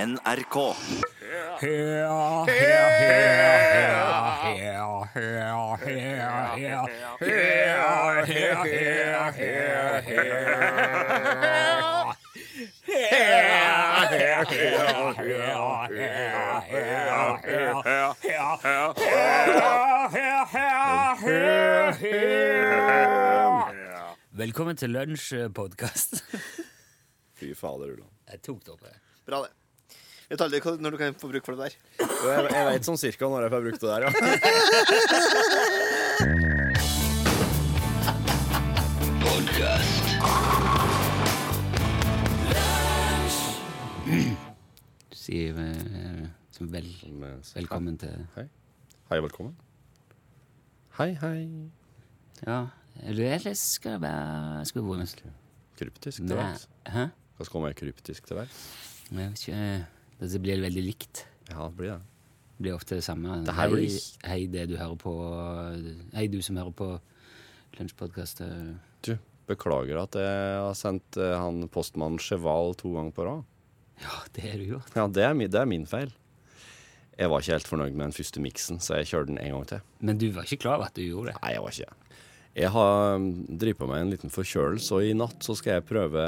NRK. Ja, ja, ja, ja, ja, ja, ja, ja, ja, ja, ja, ja. Velkommen til lunsjpodkast. Fy fader, Ulan. Jeg tok det opp. jeg. Bra, det. Vet aldri hva- når du kan få bruk for det der. Jo, Jeg, jeg veit sånn cirka når jeg får brukt det der, ja. si eh, som vel, velkommen til Hei, velkommen. Hei, hei. Ja, du ellers skal være Skal være Kryptisk til Nei, verks. hæ? Hva skal man være kryptisk til verks? Men Jeg vet ikke eh, Dette blir veldig likt. Ja, det blir det. Det blir ofte det samme. Det her blir- Hei, hei, det du hører på Hei, du som hører på Lunsjpodkast. eh, Du, beklager at jeg har sendt eh, han postmannen Cheval to ganger på rad. Ja, det har du gjort. Ja, det er, mi- det er min feil. Jeg var ikke helt fornøyd med den første miksen, så jeg kjørte den en gang til. Men du var ikke klar over at du gjorde det? Nei, jeg var ikke det. Jeg har drevet på meg en liten forkjølelse, og i natt så skal jeg prøve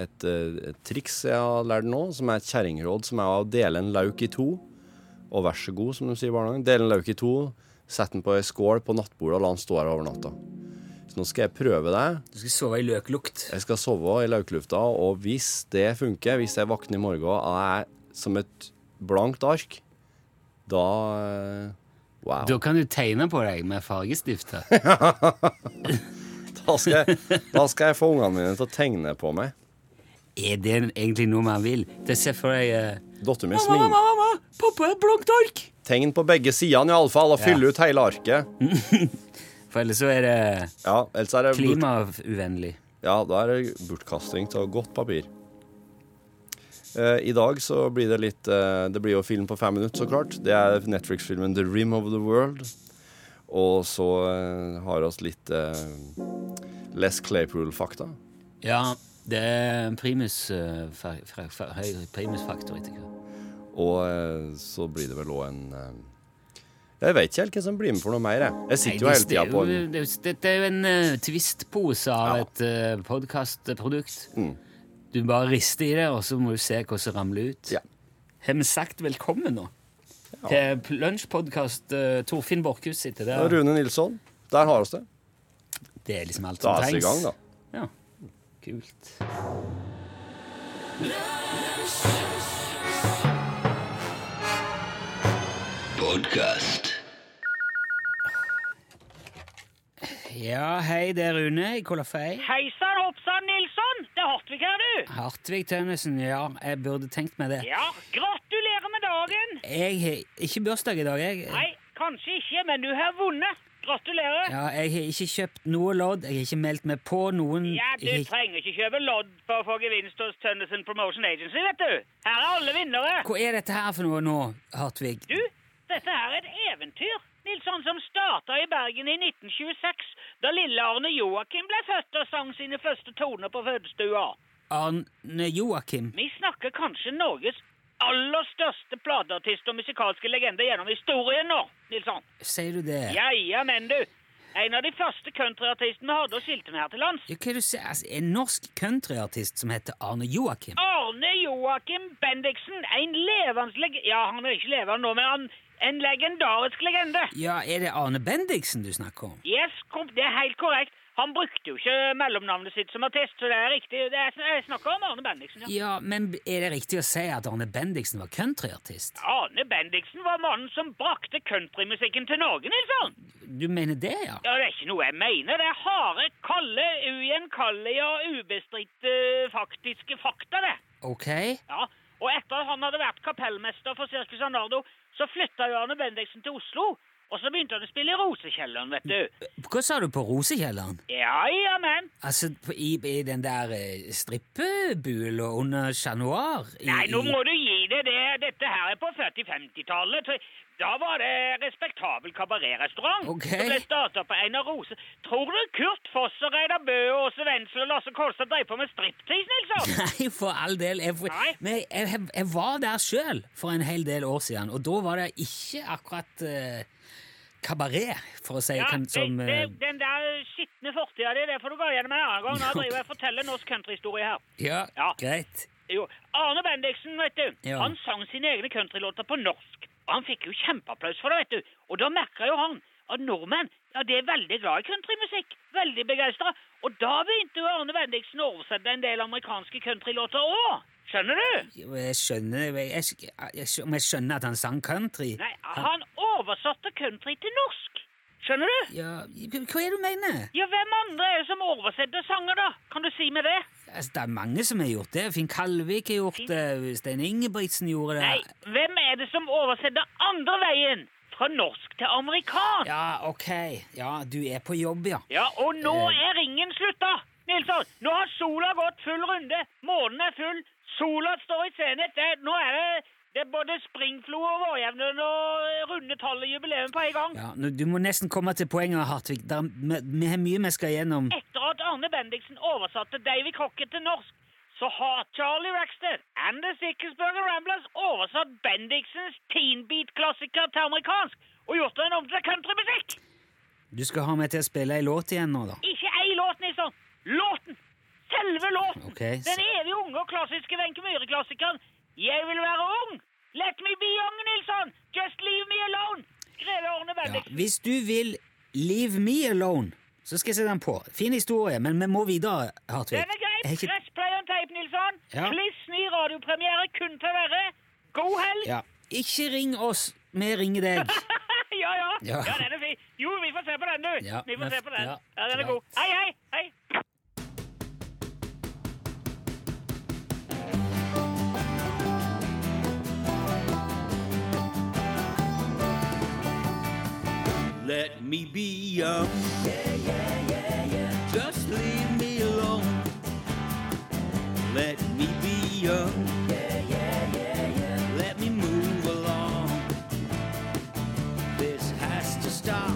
et, eh, et triks jeg har lært nå, som er et kjerringråd, som er å dele en lauk i to. Og vær så god, som de sier i barnehagen. Dele en lauk i to, sett den på ei skål på nattbordet og la den stå her over natta. Så nå skal jeg prøve det. Du skal sove i løklukt. Jeg skal sove i lauklufta, og hvis det funker, hvis jeg våkner i morgen og er som et blankt ark, da eh, Wow. Da kan du tegne på deg med fargestifter. Da skal, jeg, da skal jeg få ungene mine til å tegne på meg. Er det egentlig noe man vil? Det ser for deg eh, Datteren min smil. mamma! Pappa er blankt ark! Tegn på begge sidene, iallfall, og fylle ut hele arket. For ellers så er det Ja, ellers er det bort, klimauvennlig. ja, da er det bortkasting av godt papir. Eh, I dag så blir det litt eh, Det blir jo film på fem minutter, så klart. Det er Netflix-filmen 'The Rim of the World'. Og så eh, har oss litt eh, Les Claypool-fakta. Ja, det er en primus, eh, fa- fra- fa- høy primusfaktor etter hvert. Og eh, så blir det vel òg en eh, Jeg veit ikke helt hvem som blir med for noe mer, jeg. Jeg Nei, sitter jo hele det er tida på jo- det er jo- Dette er jo en eh, twistpose av Ja. Mm. et uh, podkastprodukt. Du bare rister i det, og så må du se hva som ramler ut. Ja. Har vi sagt velkommen nå? Til pl- lunsjpodkast uh, Torfinn Borchhus sitter Ja, der. Rune Nilsson, der har vi det. Det er liksom alt som Da er vi i trengs. gang, da. Ja. Kult. Ja, hei, det er Rune i Kolafei. Hei sann, hoppsann, Nilsson! Det er Hartvig her, du. Hartvig Tønnesen, ja, jeg burde tenkt meg det. Ja, gratulerer med dagen. Jeg har ikke bursdag i dag, jeg. Nei, kanskje ikke, men du har vunnet. Gratulerer. Ja, jeg har ikke kjøpt noe lodd, jeg har ikke meldt meg på noen Ja, du jeg har- trenger ikke kjøpe lodd for å få gevinst hos Tønnesen Promotion Agency, vet du. Her er alle vinnere. Hva er dette her for noe nå, Hartvig? Du, dette her er et eventyr. Nilsson som starta i Bergen i 1926, da lille Arne Joakim ble født og sang sine første toner på fødestua. Arne Joakim? Vi snakker kanskje Norges aller største plateartist og musikalske legende gjennom historien nå, Nilsson. Sier du det? Ja, ja, men du. En av de første countryartistene vi hadde og skilte med her til lands. Ja, Hva er det du sier? Altså, en norsk countryartist som heter Arne Joakim? Arne Joakim Bendiksen. En levende leg... Ja, han er ikke levende nå, men han en legendarisk legende. Ja, er det Arne Bendiksen du snakker om? Yes, kom, det er helt korrekt. Han brukte jo ikke mellomnavnet sitt som artist, så det er riktig. Det er, jeg snakker om Arne Bendiksen, ja. Ja, men er det riktig å si at Arne Bendiksen var countryartist? Arne Bendiksen var mannen som brakte countrymusikken til Norge, Nilsson. Du mener det, ja? Ja, det er ikke noe jeg mener. Det er harde, kalde, ugjenkallige og ubestridte faktiske fakta, det. Ok. Ja, og etter at han hadde vært kapellmester for Circus Arnardo, så flytta jo Arne Bendiksen til Oslo. Og så begynte han å spille i Rosekjelleren, vet du. Hva sa du på Rosekjelleren? Ja, ja, men. Altså, på, i, i den der eh, strippebula under Chat Noir? i- Nei, nå i- må du gi det. det, dette her er på 40-50-tallet. så Da var det respektabel kabaretrestaurant. Ok. Det ble starta på Einar Rose. Tror du Kurt Foss og Reidar Bø og Åse Wenzel og Lasse Kolstad drev på med striptease, Nilsson? Nei, for all del. Jeg, Nei. men jeg, jeg, jeg var der sjøl for en hel del år siden, og da var det ikke akkurat eh, kabaret, for å si Ja, kan, det, som det, eh, den der skitne fortida di, det får du gå igjennom en annen gang. Nå driver jeg og forteller norsk countryhistorie her. ja, Ja. greit. Jo, Arne Bendiksen, vet du. Ja. Han sang sine egne countrylåter på norsk. Og han fikk jo kjempeapplaus for det, vet du. Og da merka jo han at nordmenn ja, de er veldig glad i countrymusikk. Veldig begeistra. Og da begynte jo Arne Bendiksen å oversette en del amerikanske countrylåter òg. Skjønner du? Jeg skjønner, jeg, jeg, jeg, om jeg skjønner at han sang country Nei, han oversatte country til norsk. Skjønner du? ja, Hva er det du mener? Ja, hvem andre er det som oversetter sanger, da? Kan du si meg det? Altså, det er mange som har gjort det. Finn Kalvik har gjort det, Stein Ingebrigtsen gjorde det. Nei, hvem er det som oversetter andre veien? Fra norsk til amerikansk? Ja, ok. Ja, du er på jobb, ja. Ja, og nå er ringen slutta! Nilsson, nå har sola gått full runde, månen er full, sola står i senhet. Det, nå er det, det er både springflo og vårjevnen og eh, runde tall i jubileum på en gang. ja nå- du må nesten komme til poenget, Hartvig. Der- Vi vi har mye vi skal gjennom. Etter at Arne Bendiksen oversatte Davy Crocket til norsk, så har Charlie Rackstead and The Sickersburger Ramblers oversatt Bendiksens teenbeat-klassiker til amerikansk og gjort den om til countrymusikk! Du skal ha meg til å spille ei låt igjen nå, da. Ikke ei låt, Nilsson. Låten! Selve låten! Ok, så- Den evig unge og klassiske Wenche Myhre-klassikeren 'Jeg vil være ung'. Let me be young, Nilsson! Just leave me alone! Skrevet av Orne Ja. Bendiksen. Hvis du vil Leave Me Alone, så skal jeg sette den på. Fin historie, men vi må videre, Hartvig. Den er grei. Jeg har ikke- Press play on tape, Nilsson. Ja. Kliss ny radiopremiere kun til å være. God helg! Ja. Ikke ring oss, vi ringer deg. ja, ja. Ja. ja. den er fin. Jo, vi får se på den, du. Ja, vi får men- se på den. ja, Ja, den greit. er god. Hei, hei, hei. Let me be young. Just leave me alone. Let me be young. Let me move along. This has to stop.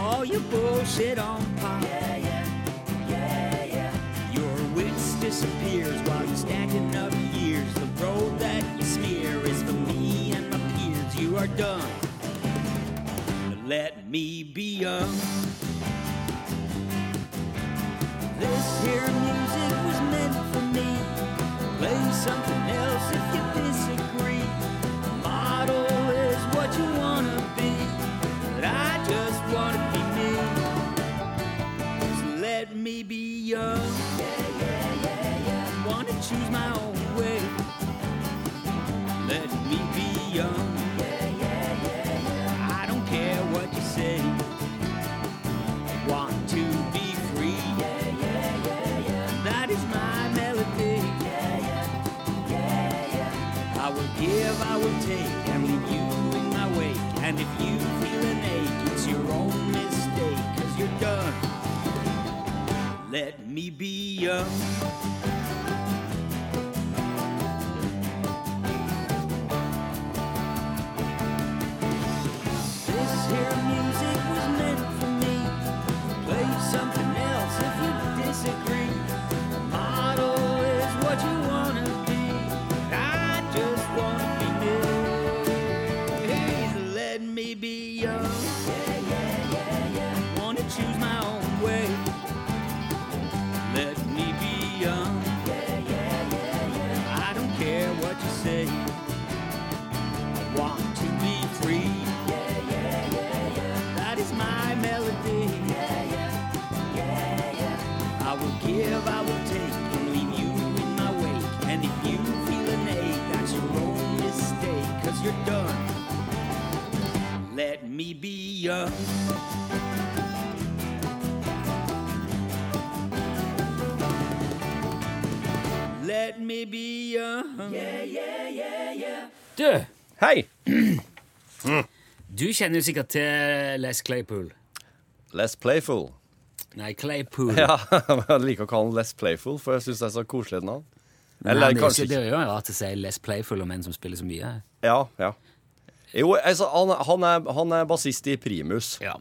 All your bullshit on pop. Your wits disappears while you're stacking up years. The road that you smear is for me and my peers. You are done. Let me be young. This here music was meant for me. Play something else if you disagree. Model is what you wanna be, but I just wanna be me. So let me be young. Wanna choose my own way. Let me be young. I don't care what you say. Want to be free. That is my melody. I will give, I will take, and leave you in my wake. And if you feel an ache, it's your own mistake, cause you're done. Let me be young. This here music was meant for me. Play something else if you disagree. Model is what you wanna be. I just wanna be me. Please let me be young. Wanna choose my own way. Let me be young. I don't care what you say. I want to be free. That is my melody. I will give, I will take, and leave you in my wake. And if you feel an ache, that's your own mistake, cause you're done. Let me be young. Let me be young. Du, Hei! du kjenner jo sikkert til Les Claypool. Less Playful. Nei, Claypool. Ja, jeg liker å kalle den Less Playful, for jeg syns det er så koselig et navn. Men Eller han er jo kanskje ikke, det er jo rart å si less playful om en som spiller så mye. Ja, ja. Jo, altså, han, han, er, han er bassist i Primus. Ja.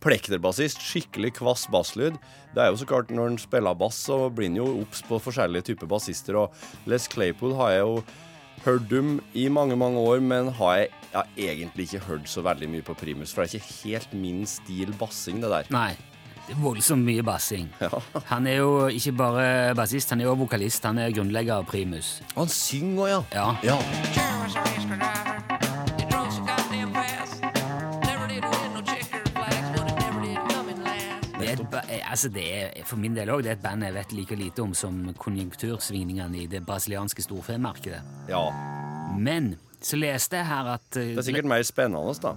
Plekterbassist, skikkelig kvass basslyd. Det er jo så klart Når han spiller bass, så blir han jo obs på forskjellige typer bassister. Og Les Claypool har jeg jo hørt om i mange, mange år, men har jeg, jeg har egentlig ikke hørt så veldig mye på Primus, for det er ikke helt min stil bassing, det der. Nei. Det er voldsomt mye bassing. Ja. Han er jo ikke bare bassist, han er jo også vokalist. Han er grunnlegger av Primus. Han synger òg, ja. Ja. ja. Det er, et ba- eh, altså det er for min del òg et band jeg vet like lite om som konjunktursvingningene i det brasilianske storfemarkedet. ja. Men så leste jeg her at eh, Det er sikkert mer spennende, da,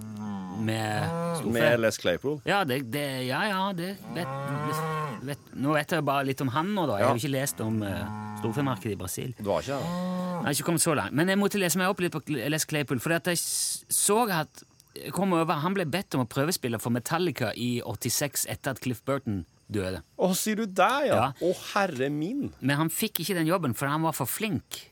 med storfe med Les Claypool. Ja, det, det, ja, ja, det vet, det vet Nå vet jeg bare litt om han nå, da. Jeg har jo ikke lest om uh, storfemarkedet i Brasil. Du har ikke det? Jeg har ikke kommet så langt. Men jeg måtte lese meg opp litt på Cl- Les Claypool, for at jeg s- så at jeg kom over, Han ble bedt om å prøvespille for Metallica i 86 etter at Cliff Burton døde. Å, sier du det, ja? Ja. Å, herre min. Men han fikk ikke den jobben, for han var for flink.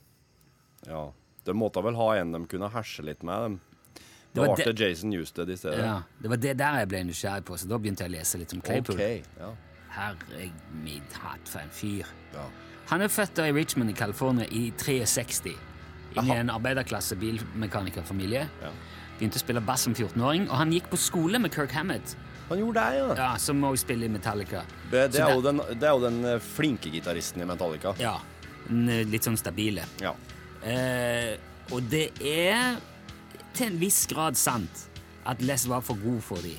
Ja. De måtte vel ha en de kunne herse litt med. Dem. Det Da var ble det det- Jason Newsted i stedet. Ja, Det var det der jeg ble nysgjerrig på, så da begynte jeg å lese litt om Ok, Claypool. ja. Herre min hatt for en fyr. Ja. Han er født da i Richmond i California i 63. Inn i Aha. en arbeiderklasse bilmekanikerfamilie. Ja. Begynte å spille bass som 14-åring, og han gikk på skole med Kirk Hammett, Han gjorde det, ja. ja, som også spiller i Metallica. Det, det, Så er jo den, det er jo den eh, flinke gitaristen i Metallica. Ja, n- Litt sånn stabile. Ja. Eh, og det er til en viss grad sant at Les var for god for dem.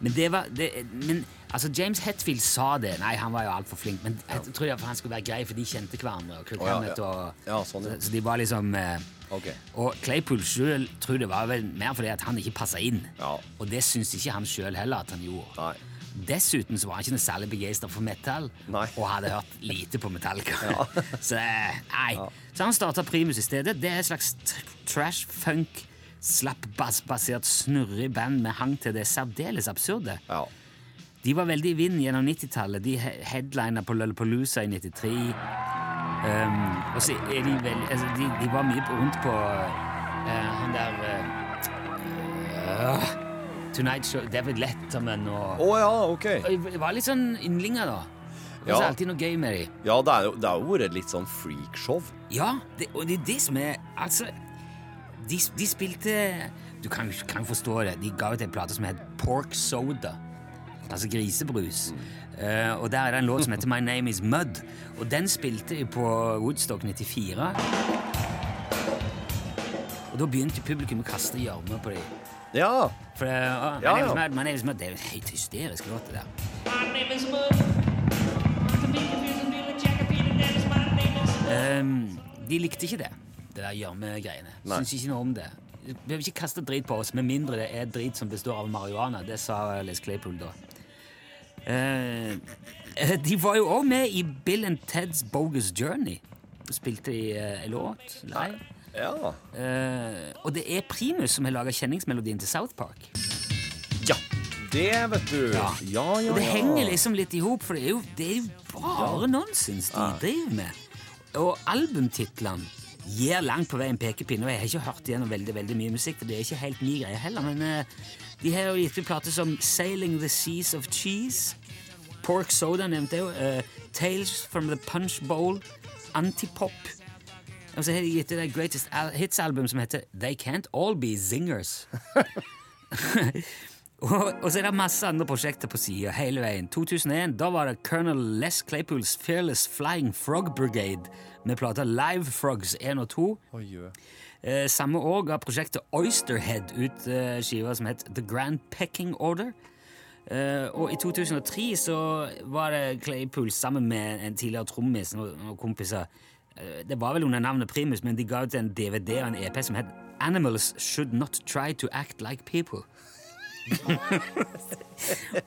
Men det var det, men, altså James Hetfield sa det. Nei, han var jo altfor flink. Men jeg tror jeg han skulle være grei, for de kjente hverandre. Og Kirk Å, ja, Hammett ja. og Ja, sånn, ja. så, så de var liksom eh, Ok. Og Claypool sjøl tror det var vel mer fordi at han ikke passa inn. Ja. Og det syns ikke han sjøl heller at han gjorde. Nei. Dessuten så var han ikke noe særlig begeistra for metal, Nei. og hadde hørt lite på Metallica. så, eh, nei. så han starta Primus i stedet. Det er et slags tr- trash funk, slappbassbasert snurrig band med hang til det særdeles absurde. Ja. De var veldig i vinden gjennom 90-tallet. De he- headlina på Lollapalooza i 93. Um, og så er de vel altså, de, de var mye på- rundt på eh, han der eh, øh, Tonight Show, David Letterman og Å ja, ok. og Det var litt sånn yndlinger, da. Det var Ja. alltid noe gøy med dem. Ja, det er jo- det har jo vært et litt sånn freakshow. Ja, det, og det er det som er Altså, de, de spilte Du kan jo kan jo forstå det. De ga ut en plate som het Pork Soda. Altså grisebrus. Eh, og der er det en låt som heter My Name Is Mud. Og den spilte de på Woodstock 94. Og da begynte publikum å kaste gjørme på dem. Ja. For det, ah, my Ja, name is ja. Mud, my name is Mud. Det er jo en helt hysterisk låt, det der. Ehm, de likte ikke det, det der gjørmegreiene. Nei. Syns ikke noe om det. Vi vil ikke kaste drit på oss, med mindre det er drit som består av marihuana. Det sa Les Claypool da. Eh, eh, de var jo òg med i Bill and Teds Bogus Journey. Spilte i uh, låt live. Ja. Eh, og det er Primus som har laga kjenningsmelodien til South Park. Ja. Det, vet du. Ja. ja, ja. Og det ja. henger liksom litt i hop, for det er jo, det er jo bare nonsens de driver med. Og albumtitlene gir langt på vei en pekepinne, og jeg har ikke hørt igjennom veldig veldig mye musikk, for det er ikke helt min greie heller, men eh, de har jo gitt ut plater som Sailing the Seas of Cheese, Pork Soda nevnte jeg jo, eh, Tales from the Punch Bowl, Antipop, og så har de gitt ut et Greatest Al- Hits-album som heter They Can't All Be Zingers. Og, og så er det masse andre prosjekter på sida hele veien. 2001 da var det Colonel Les Claypools Fearless Flying Frog Brigade med plata Live Frogs 1 og 2. Oi, jø. Eh, samme år ga prosjektet Oysterhead ut eh, skiva som het The Grand Pecking Order. Eh, og i 2003 så var det Claypool sammen med en tidligere trommis og, og kompiser. Eh, det var vel under navnet Primus, men de ga ut en DVD og en EP som het Animals Should Not Try To Act Like People.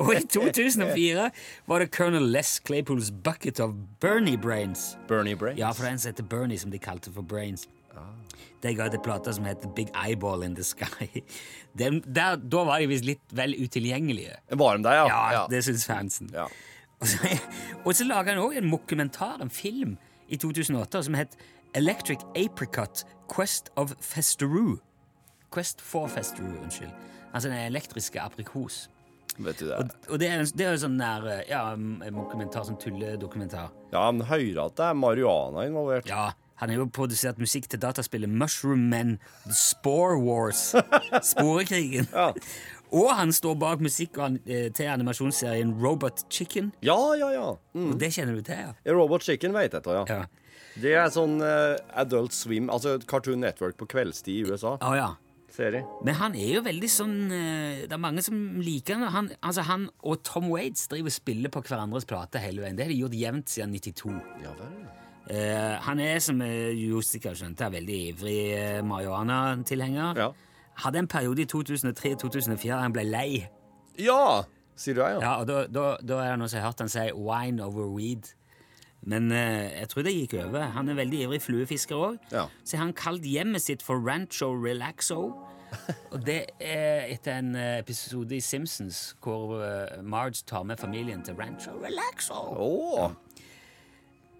og i 2004 var det Colonel Les Claypools Bucket of Bernie Brains. Bernie Brains. Ja, for det er en som heter Bernie, som de kalte for Brains. De ga ut en plate som heter Big Eyeball in the Sky. Den, der, da var de visst litt vel utilgjengelige. Var de der, ja? Ja, det syns fansen. Ja. Og så, og så laga han òg en mokumentar, en film, i 2008 som het Electric Apricot Quest of Festeroo. Quest for Festeroo, unnskyld. Altså den elektriske aprikos. Vet du Og, det? og det er en- det er jo sånn der Ja, en dokumentar, sånn tulledokumentar. Ja, men hører at det er marihuana involvert. Ja, han har jo produsert musikk til dataspillet Mushroom Men The Spore Wars. Sporekrigen. Ja. Og han står bak musikk og an- eh, til animasjonsserien Robot Chicken. Ja, ja, ja. Mm. Og det kjenner du til, ja? Robot Chicken vet jeg da, ja. Ja. Det er sånn eh, Adult Swim, altså Cartoon Network på kveldstid i USA. Å, ja. Serie. Men han er jo veldig sånn eh, Det er mange som liker han. han. Altså han og Tom Waits driver og spiller på hverandres plate hele veien. Det har de gjort jevnt siden 92. Ja vel. Eh, han er, som eh, jo sikkert skjønte, er veldig ivrig eh, marihuana-tilhenger. Ja. Hadde en periode i 2003-2004 der han ble lei. Ja! Sier du jeg, ja? Ja, og da, da, da er det noen som har hørt han si 'wine over weed'. Men eh, jeg tror det gikk over. Han er veldig ivrig fluefisker òg. Ja. Så har han kalt hjemmet sitt for Rancho Relaxo. Og det er etter en eh, episode i Simpsons hvor eh, Marge tar med familien til Rancho Relaxo. Åh,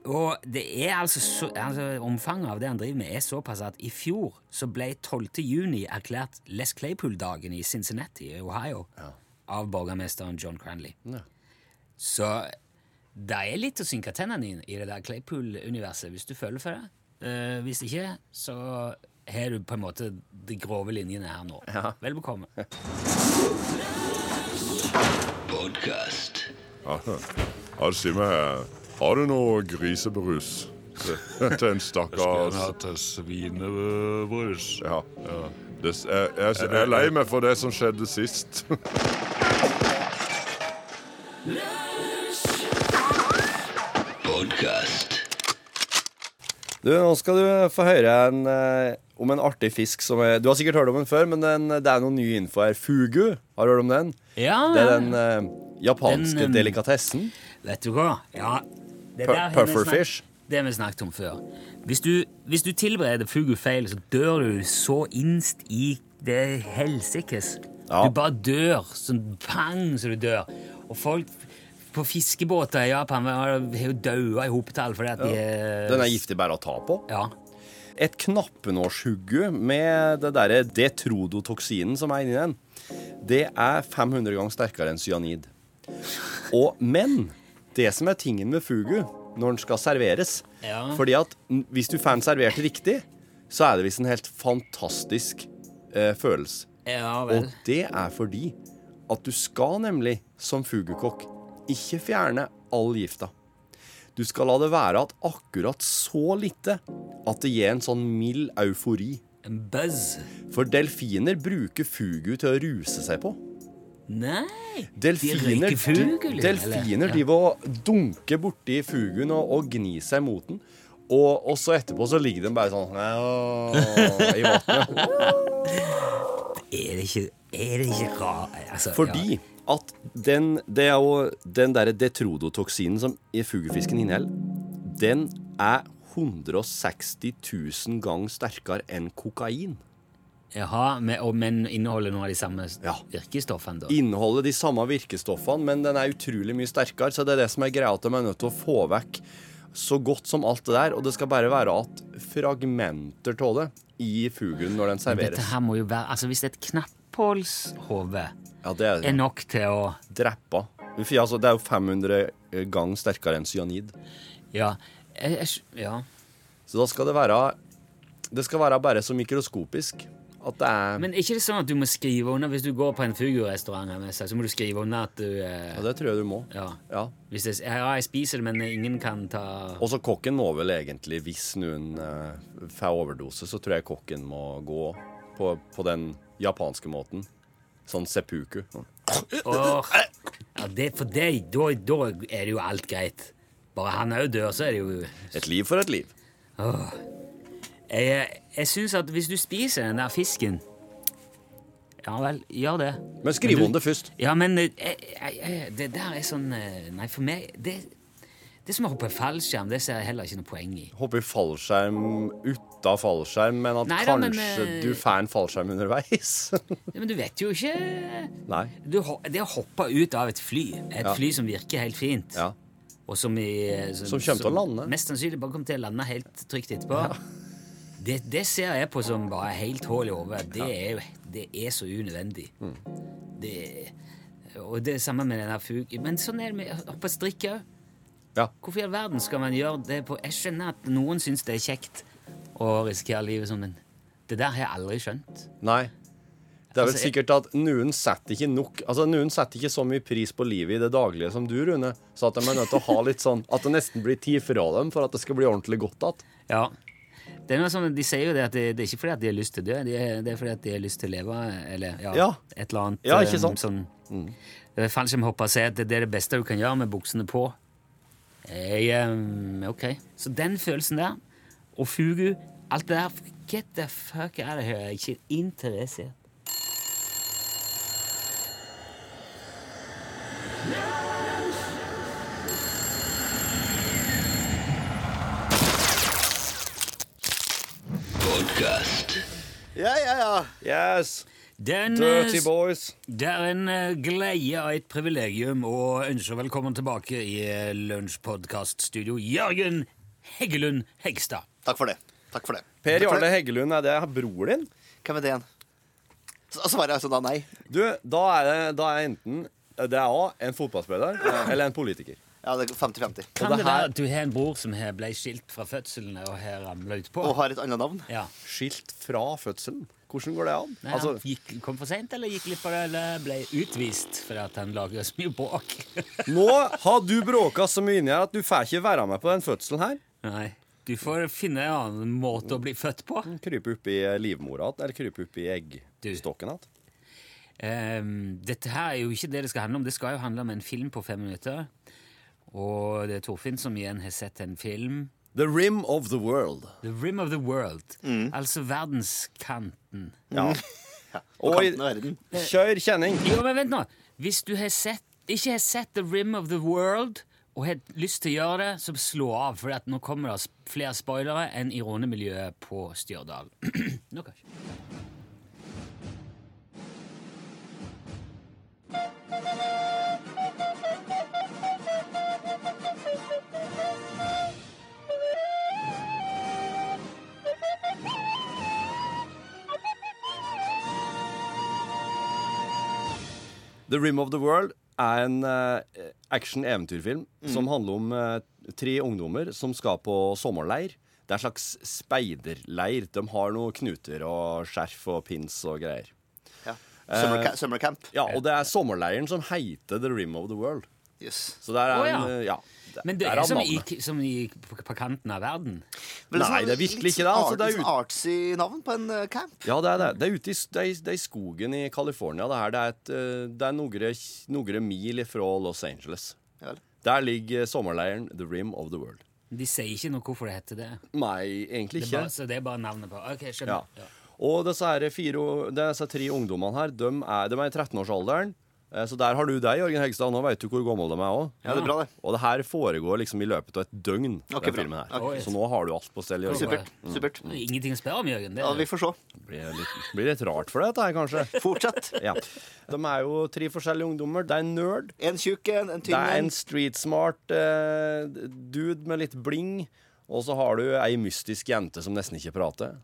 Og det er altså, så, altså Omfanget av det han driver med, er såpass at i fjor så ble 12. juni erklært Les Claypool-dagen i Cincinnati i Ohio av borgermesteren John Cranley. Så det er litt å synke tennene inn i det der Claypool-universet hvis du føler for det. Eh, hvis ikke, så har du på en måte de grove linjene her nå. Vel bekomme. Aha. Altså, si meg her, har du noe grisebrus til til en stakkars til svinebrus. Ja. Det, s- jeg, jeg, jeg er lei meg for det som skjedde sist. Du, nå skal du få høre en, eh, om en artig fisk som er Du har sikkert hørt om den før, men den, det er noe ny info her. Fugu, har du hørt om den? Ja. Det er den eh, japanske Den, eh, delikatessen. Vet du hva? Ja, det Pu- der har vi snakket- pufferfish. Det har vi snakket om før. Hvis du, hvis du tilbereder fugu feil, så dør du så innst i det helsikes. Ja. Du bare dør. Sånn pang, så du dør. Og folk på fiskebåter i Japan har har jo daua i hopetall fordi at de er Den er giftig bare å ta på. Ja. Et knappenårshugge med det derre detrodotoksinen som er inni den, det er 500 ganger sterkere enn cyanid. Og, men det som er tingen med fugu når den skal serveres Ja. Fordi at n- hvis du får den servert riktig, så er det visst en helt fantastisk eh, følelse. Ja vel. Og det er fordi at du skal nemlig, som fugekokk, ikke fjerne all gifta. Du skal la det være at akkurat så lite at det gir en sånn mild eufori. En buzz. For delfiner bruker fugu til å ruse seg på. Nei! Delfiner, røyker fugu, liksom, eller? delfiner Ja. driver og dunker borti fuguen og, og gnir seg mot den. Og, og så etterpå så ligger den bare sånn i vannet. Er det ikke, er det ikke rart altså, Fordi at den, det er jo den derre detrodotoksinen som i fugefisken inneholder, den er 160 000 ganger sterkere enn kokain. ja. Jaha, men, og, men inneholder noen av de samme Ja. virkestoffene, da? Inneholder de samme virkestoffene, men den er utrolig mye sterkere, så det er det som er greia at de er nødt til å få vekk så godt som alt det der, og det skal bare være at fragmenter av det i fuglen når den Dette serveres. her må jo være Altså, hvis et knapphålshode Ja, det er er nok til å dreppa. Fy, Altså, det er jo 500 ganger sterkere enn cyanid. Ja. Jeg, jeg, skj- ja. Så da skal det være Det skal være bare så mikroskopisk at det er Men er ikke det sånn at du må skrive under hvis du går på en fugurestaurant, her med seg, så må du skrive under at du eh, Ja, det tror jeg du må. Ja. Ja. Hvis det, ja, jeg spiser det, men ingen kan ta Og så kokken må vel egentlig, hvis noen eh, får overdose, så tror jeg kokken må gå på, på den japanske måten. Sånn seppuku. Åh. Ja, det, For det, da, da er det jo alt greit. Bare han òg dør, så er det jo Et liv for et liv. Jeg, jeg syns at hvis du spiser den der fisken Ja vel, gjør det. Men skriv du- om det først. Ja, men eh, jeg, jeg, jeg, det der er sånn eh, Nei, for meg Det, det er som å hoppe fallskjerm, det ser jeg heller ikke noe poeng i. Hoppe i fallskjerm uten fallskjerm, men at Nei da, men, kanskje eh, du får en fallskjerm underveis. Ja, Men du vet jo ikke Nei. du, ho- Det å hoppe ut av et fly, et Ja. fly som virker helt fint Ja. og som, i, eh, Som kommer til å lande. Mest sannsynlig bare kommer til å lande helt trygt etterpå. Det, det ser jeg på som bare helt hull i hodet. Det, er jo- det er så unødvendig. Mm. Det, og det er samme med den der fug... Men sånn er det med å hoppe strikk òg. Ja. Hvorfor i all verden skal man gjøre det på Jeg skjønner at noen syns det er kjekt å risikere livet sånn, men det der har jeg aldri skjønt. Nei. Det er vel Altså, jeg- sikkert at noen setter ikke nok Altså noen setter ikke så mye pris på livet i det daglige som du, Rune, så at de er nødt til å ha litt sånn At det nesten blir tid fra dem for at det skal bli ordentlig godt igjen. Ja. Det er noe sånn, de sier jo det at det, det er ikke fordi at de har lyst til å dø, det er, det er fordi at de har lyst til å leve, eller ja, Ja. et eller annet. Ja, ikke eh, sant? Mm. Sånn, Eh, Fallskjermhopper sier at det, det er det beste du kan gjøre med buksene på. Jeg, eh, ok. Så den følelsen der, og fugu, alt det der, get the fuck out of here, ikke interesse. Ja, ja, ja. Yes! Den, eh, Dirty boys. Det er en eh, glede og et privilegium å ønske velkommen tilbake i eh, Lunsjpodkaststudio Jørgen Heggelund Hegstad. Takk for det. Takk for det. Per Takk for Jarle det. Heggelund, er det bror din? Hvem er det igjen? Så- Og svaret er altså da nei. Du, da er det, da er enten Det er A, en fotballspiller, eh, eller en politiker. Ja, det er 50-50. Kan det, Og det her- være at du har en bror som har ble skilt fra fødselen og har ramla utpå? Og har et annet navn. Ja. Skilt fra fødselen. Hvordan går det an? Nei, Altså, han gikk, kom for seint, eller gikk glipp av det, eller ble utvist fordi at han lager så mye bråk? nå har du bråka så mye inni her at du får ikke være med på den fødselen her. Nei. Du får finne en annen måte å bli født på. Krype opp i livmora igjen, eller krype opp i eggstokken igjen. Ehm, dette her er jo ikke det det skal handle om. Det skal jo handle om en film på fem minutter. Og det er Torfinn som igjen har sett en film. The rim of the world. The rim of the world. Altså verdenskanten. Ja. Og Oi. kanten av verden. Kjør kjenning. Jo, men vent nå! Hvis du har sett, ikke har sett The rim of the world og har lyst til å gjøre det, så slå av, for at nå kommer det s- flere spoilere enn i rånemiljøet på Stjørdal. nå kanskje. The Rim of the World er en eh, action-eventyrfilm som handler om eh, tre ungdommer som skal på sommerleir. Det er en slags speiderleir. De har noen knuter og skjerf og pins og greier. Ja. Summer, ca summer camp. Eh, Ja, Og det er sommerleiren som heter The Rim of the World. Yes. Så der er Å, en, ja. eh, ja. der- Men det der er som i, navnet. som i på, på kanten av verden. Men Nei, sånn det er virkelig litt ikke det, altså, art- det er litt ut- sånn artsy navn på en eh, camp. Ja, det er det. Det er ute i, s- det er, i- det er i skogen i California. Det, her, det er, et, eh, det er noen, noen mil fra Los Angeles. Ja, vel. Der ligger eh, sommerleiren The Rim of the World. De sier ikke noe hvorfor det heter det. Nei, det egentlig er ikke. bare, så det er bare navnet på. Ok, Ja. skjønner. Ja. Og disse, her fire, disse tre ungdommene her, de er, de er i 13-årsalderen. eh, Så der har du deg, Jørgen Hegstad. Nå vet du hvor gammel de er òg. Ja, det er bra, det. Og det her foregår liksom i løpet av et døgn. Ok, den bra. filmen her. Ok. Så nå har du alt på stell. Jørgen. Supert. supert Det er Ingenting å spørre om, Jørgen. Det Ja, er, Vi får se. Det blir litt, blir litt rart for deg, dette her, kanskje. Fortsett. Ja. De er jo tre forskjellige ungdommer. Det er en nerd. En tjukk en, en Det tynn er en en. street smart eh, dude med litt bling, og så har du ei mystisk jente som nesten ikke prater.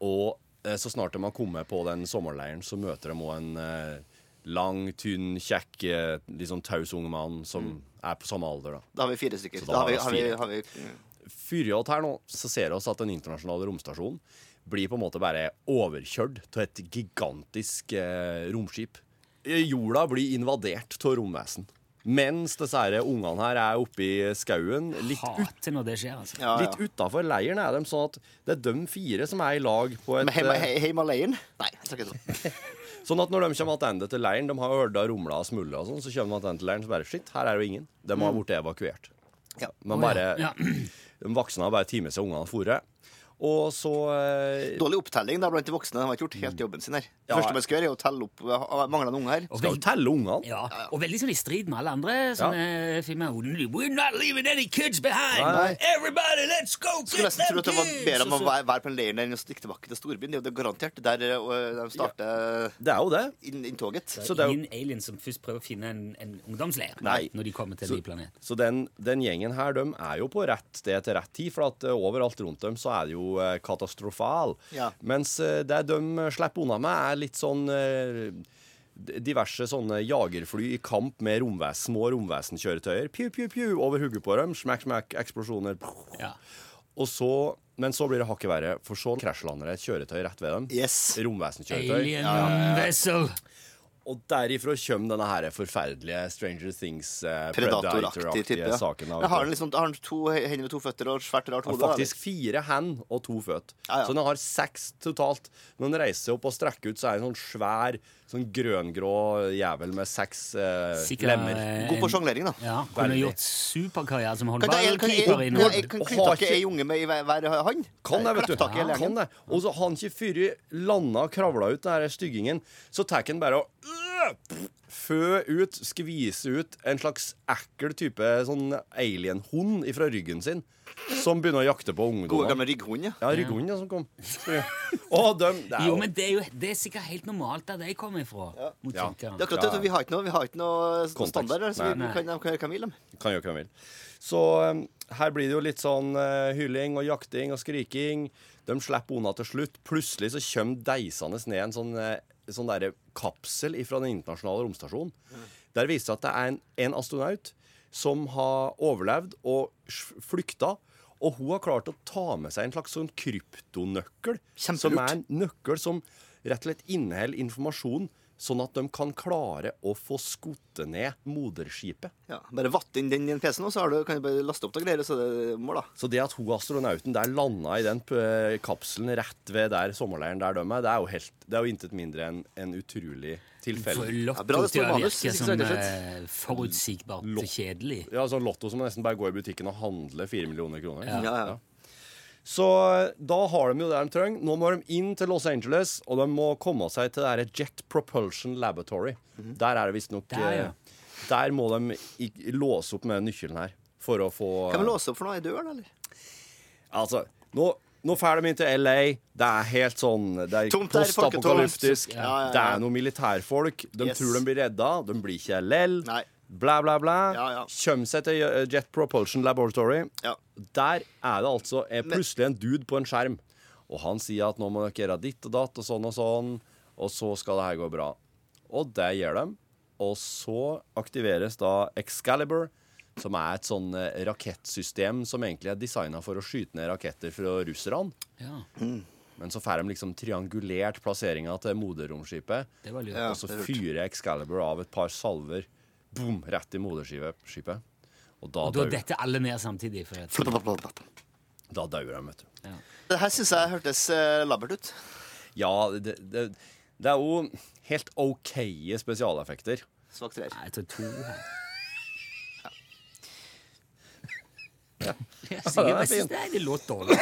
Og eh, så snart de har kommet på den sommerleiren, så møter de også en eh, lang, tynn, kjekk, eh, litt sånn taus ung mann som er på samme alder, da. Da har vi fire stykker. Så da Da har vi, har har vi vi, fire. har vi mm. Fyrer vi alt her nå, så ser vi oss at den internasjonale romstasjonen blir på en måte bare overkjørt av et gigantisk eh, romskip. Eh, Jorda blir invadert av romvesen. Mens disse her ungene her er oppe i skauen, litt hater når det skjer, altså. ja, ja. Litt utafor leiren er de sånn at det er de fire som er i lag på et Men heima, he, eh, Heimaleien? Nei, jeg tror ikke det. Sånn at når de kommer tilbake til leiren, de har jo hørt da rumla og smulla og sånn, så kommer de tilbake til leiren så bare shit, her er jo ingen. De har blitt evakuert. Ja. De bare Mm. Ja. De voksne har bare tatt med seg ungene og dratt. Og så eh, Dårlig opptelling da blant de voksne. De har ikke gjort helt jobben sin her. Det Mm. Ja. første man skal gjøre, er å telle opp eh, manglende unger her. Og skal jo telle ungene. Ja, og veldig sånn i strid med alle andre sånne filmer. We're not leaving any kids behind! Nei. Everybody, let's go get Skulle nesten them tro at det var kids! bedre om å Og så- være være på en leir enn å stikke tilbake til storbyen. Det er jo det garantert der eh, de starter Det er jo det. inn- inntoget. Så det er jo- Ingen alien som først prøver å finne en, en ungdomsleir Nei. når de kommer til en ny planet. Så den, den gjengen her, de er jo på rett sted til rett tid, for at eh, overalt rundt dem så er det jo eh, katastrofal. Ja. Mens eh, det de slipper unna med, er litt sånn eh, d- diverse sånne jagerfly i kamp med romvesen, små romvesenkjøretøyer. Pju, pju, pju, over hodet på dem. Smakk, smakk, eksplosjoner. Ja. Og så, men så blir det hakket verre, for så krasjlander det et kjøretøy rett ved dem. Yes. Romvesenkjøretøy. Alien vessel! Og derifra kommer denne her forferdelige Stranger Things eh, Predatoraktig Predator-aktige type. Ja. saken. av- Jeg har, den liksom, jeg har den to hender med to føtter og et svært rart Han hode. har da, faktisk fire hand og to føtt. Ja, ja. Så han har seks totalt. Når han reiser seg opp og strekker ut, så er han sånn svær, sånn grøngrå jævel med seks eh, Sikkert, lemmer. eller? eh, God på sjonglering, da. Ja, kunne Veldig. gjort superkarriere som Kan jeg, kan jeg, håndballkeeper kan i jeg, Nord. kan Har knytte ikke ikke- ei unge med i hver, hver hand? Kan det, vet du. Klapptak i hele Kan gjengen. det. Og så har han ikke fyret landa og kravla ut den her styggingen, så tar han bare og øh, fø ut, skvise ut, en slags ekkel type sånn alienhund fra ryggen sin, som begynner å jakte på Gode ungdommer. gamle rygghund, ja. Ja, rygghunden ja, som kom. Og dem, det er Jo, jo men det er jo det er sikkert helt normalt der de kommer ifra. Mot Ja. kikkeren. Det er akkurat det, Ja. Vi har ikke noe, vi har ikke noe Kontekst. standard der, så vi Nei. kan, de kan gjøre hva de vil. de. Kan gjøre hva han vil. Så um, her blir det jo litt sånn eh, hylling og jakting og skriking. De slipper unna til slutt. Plutselig så kommer deisende ned en sånn, eh, sånn derre kapsel fra den internasjonale romstasjonen. Der viser det seg at det er en, en astronaut som har overlevd og sj- flykta. Og hun har klart å ta med seg en slags sånn kryptonøkkel. Kjempelurt. Som er en nøkkel som rett og slett inneholder informasjon, sånn at de kan klare å få skutt ned moderskipet. Ja. Bare vatte inn den i en PC nå, så har du, kan du bare laste opp noen greier, så er det mål, da. Så det at hun astronauten der landa i den p- kapselen rett ved der sommerleiren der de er, det er jo, helt, det er jo intet mindre enn en utrolig For tilfelle. Ja, bra lotto det står i til å manus, virke hvis ikke så som er det eh, forutsigbart kjedelig. Ja, sånn Lotto som nesten bare går i butikken og handler fire millioner kroner. Ja, ja. Så eh, da har de jo det de trenger. Nå må de inn til Los Angeles, og de må komme seg til det her Jet Propulsion Laboratory. Mhm. Der er det visstnok Der, ja. eh, der må de i- låse opp med nøkkelen her for å få Kan vi låse opp for noe? Er dør, da, eller? Altså, nå, nå fer de inn til LA. Det er helt sånn Det er Tomt der, postapokalyptisk. folketomt. Ja, ja, ja. Det er noen militærfolk. De Yes. tror de blir redda. De blir ikke LL. Nei. Blæ, blæ, blæ. Ja, ja. Kjøm seg til eh, Jet Propulsion Laboratory. Ja. Der er det altså eh, plutselig en dude på en skjerm. Og han sier at nå må dere gjøre ditt og datt og sånn og sånn, og så skal det her gå bra. Og det gjør de. Og så aktiveres da Excalibur, som er et sånn eh, rakettsystem som egentlig er designa for å skyte ned raketter fra russerne. Ja, Men så får de liksom triangulert plasseringa til moderromskipet. det var lurt. Ja, og så det er lurt. fyrer Excalibur av et par salver boom, rett i moderskipet. skipet. Og da Og da dør da detter alle ned samtidig. For at, dør de, vet du. Det her syns jeg hørtes eh, labbert ut. Ja, det, det, det er jo helt OK spesialeffekter. Svak treer. Nei, jeg tror to her. Ja, den er sikkert. Jeg fin. synes det, det låt dårlig.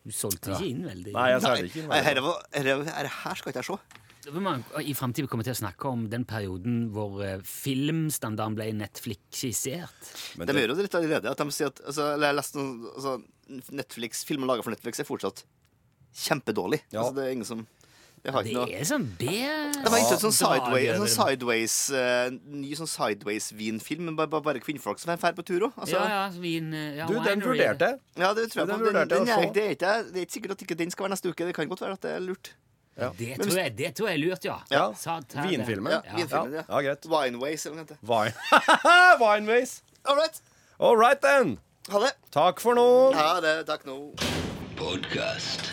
Du solgte ikke inn veldig. Nei, jeg ser det ikke. Nei, Nei. her, var- her, her, her skal ikke jeg se. Vi må I fremtiden kommer vi til å snakke om den perioden hvor eh, filmstandarden ble Netflix-skissert. Men De det, gjør jo det litt allerede. At de sier at altså, eller jeg leste noe, altså, Netflix, Filmer laga for Netflix er fortsatt kjempedårlig. Ja. Altså, det er ingen som Det har Det ikke noe er sånn B... Det var ikke en sånn sideways, Drager. en sånn sideways eh, ny sånn sideways-vinfilm, men bare, bare- bare kvinnfolk som er ferd på tur òg. Altså, Ja, ja, ja, vin, eh, ja, du, den winery. vurderte jeg. det tror jeg på. Den Den, vurderte jeg den å er, se. det, er ikke, det er ikke sikkert at ikke den skal være neste uke. Det kan godt være at det er lurt. Det tror jeg, det tror jeg er lurt, ja. Ja. Sa- ta det. Vinfilmen. Ja, vinfilmen, ja. ja. ja greit. Wineways eller noe sånt. Vine. Wineways. All right. All right, then. Ha det. Takk for nå. Ha det. Takk nå. Podcast.